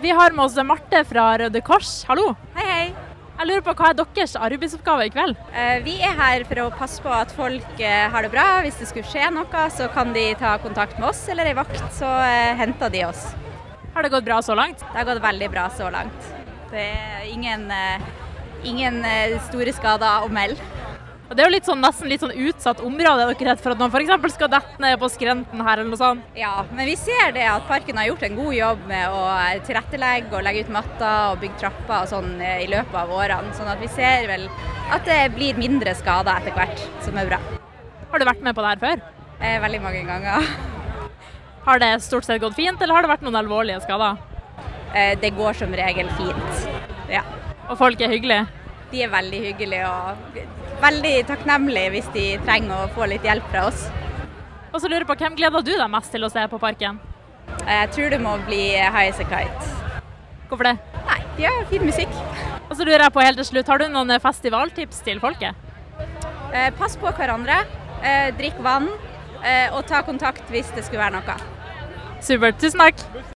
Vi har med oss Marte fra Røde Kors. Hallo. Hei, hei. Jeg lurer på Hva er deres arbeidsoppgave i kveld? Eh, Vi er her for å passe på at folk eh, har det bra. Hvis det skulle skje noe, så kan de ta kontakt med oss eller ei vakt, så eh, henter de oss. Har det gått bra så langt? Det har gått veldig bra så langt. Det er ingen, eh, ingen eh, store skader å melde. Og Det er jo litt sånn, nesten litt sånn utsatt område. Er dere redd for at noen f.eks. skal dette ned på skrenten her eller noe sånt? Ja, men vi ser det at parken har gjort en god jobb med å eh, tilrettelegge og legge ut matter og bygge trapper og sånn eh, i løpet av årene. Sånn at vi ser vel at det blir mindre skader etter hvert, som er bra. Har du vært med på det her før? Eh, Veldig mange ganger. Har det stort sett gått fint, eller har det vært noen alvorlige skader? Eh, Det går som regel fint. Ja. Og folk er hyggelige? De er veldig hyggelige og veldig takknemlige hvis de trenger å få litt hjelp fra oss. Og så lurer jeg på, Hvem gleder du deg mest til å se på parken? Eh, Jeg tror det må bli High as a Kite. Hvorfor det? Nei, de har fin musikk. Og så lurer jeg på helt til slutt, Har du noen festivaltips til folket? Eh, Pass på hverandre, eh, drikk vann eh, og ta kontakt hvis det skulle være noe. Supert. Tusen takk.